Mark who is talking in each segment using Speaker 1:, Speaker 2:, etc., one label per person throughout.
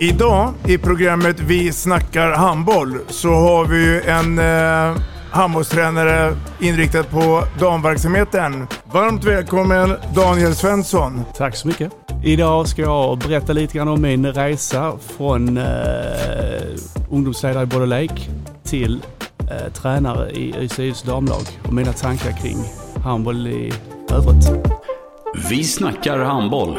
Speaker 1: Idag i programmet Vi snackar handboll så har vi ju en eh, handbollstränare inriktad på damverksamheten. Varmt välkommen Daniel Svensson.
Speaker 2: Tack så mycket. Idag ska jag berätta lite grann om min resa från eh, ungdomsledare i Borlänge Lake till eh, tränare i ÖIS damlag och mina tankar kring handboll i övrigt.
Speaker 3: Vi snackar handboll.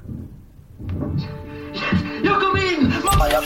Speaker 4: Jag kom in! Mamma, jag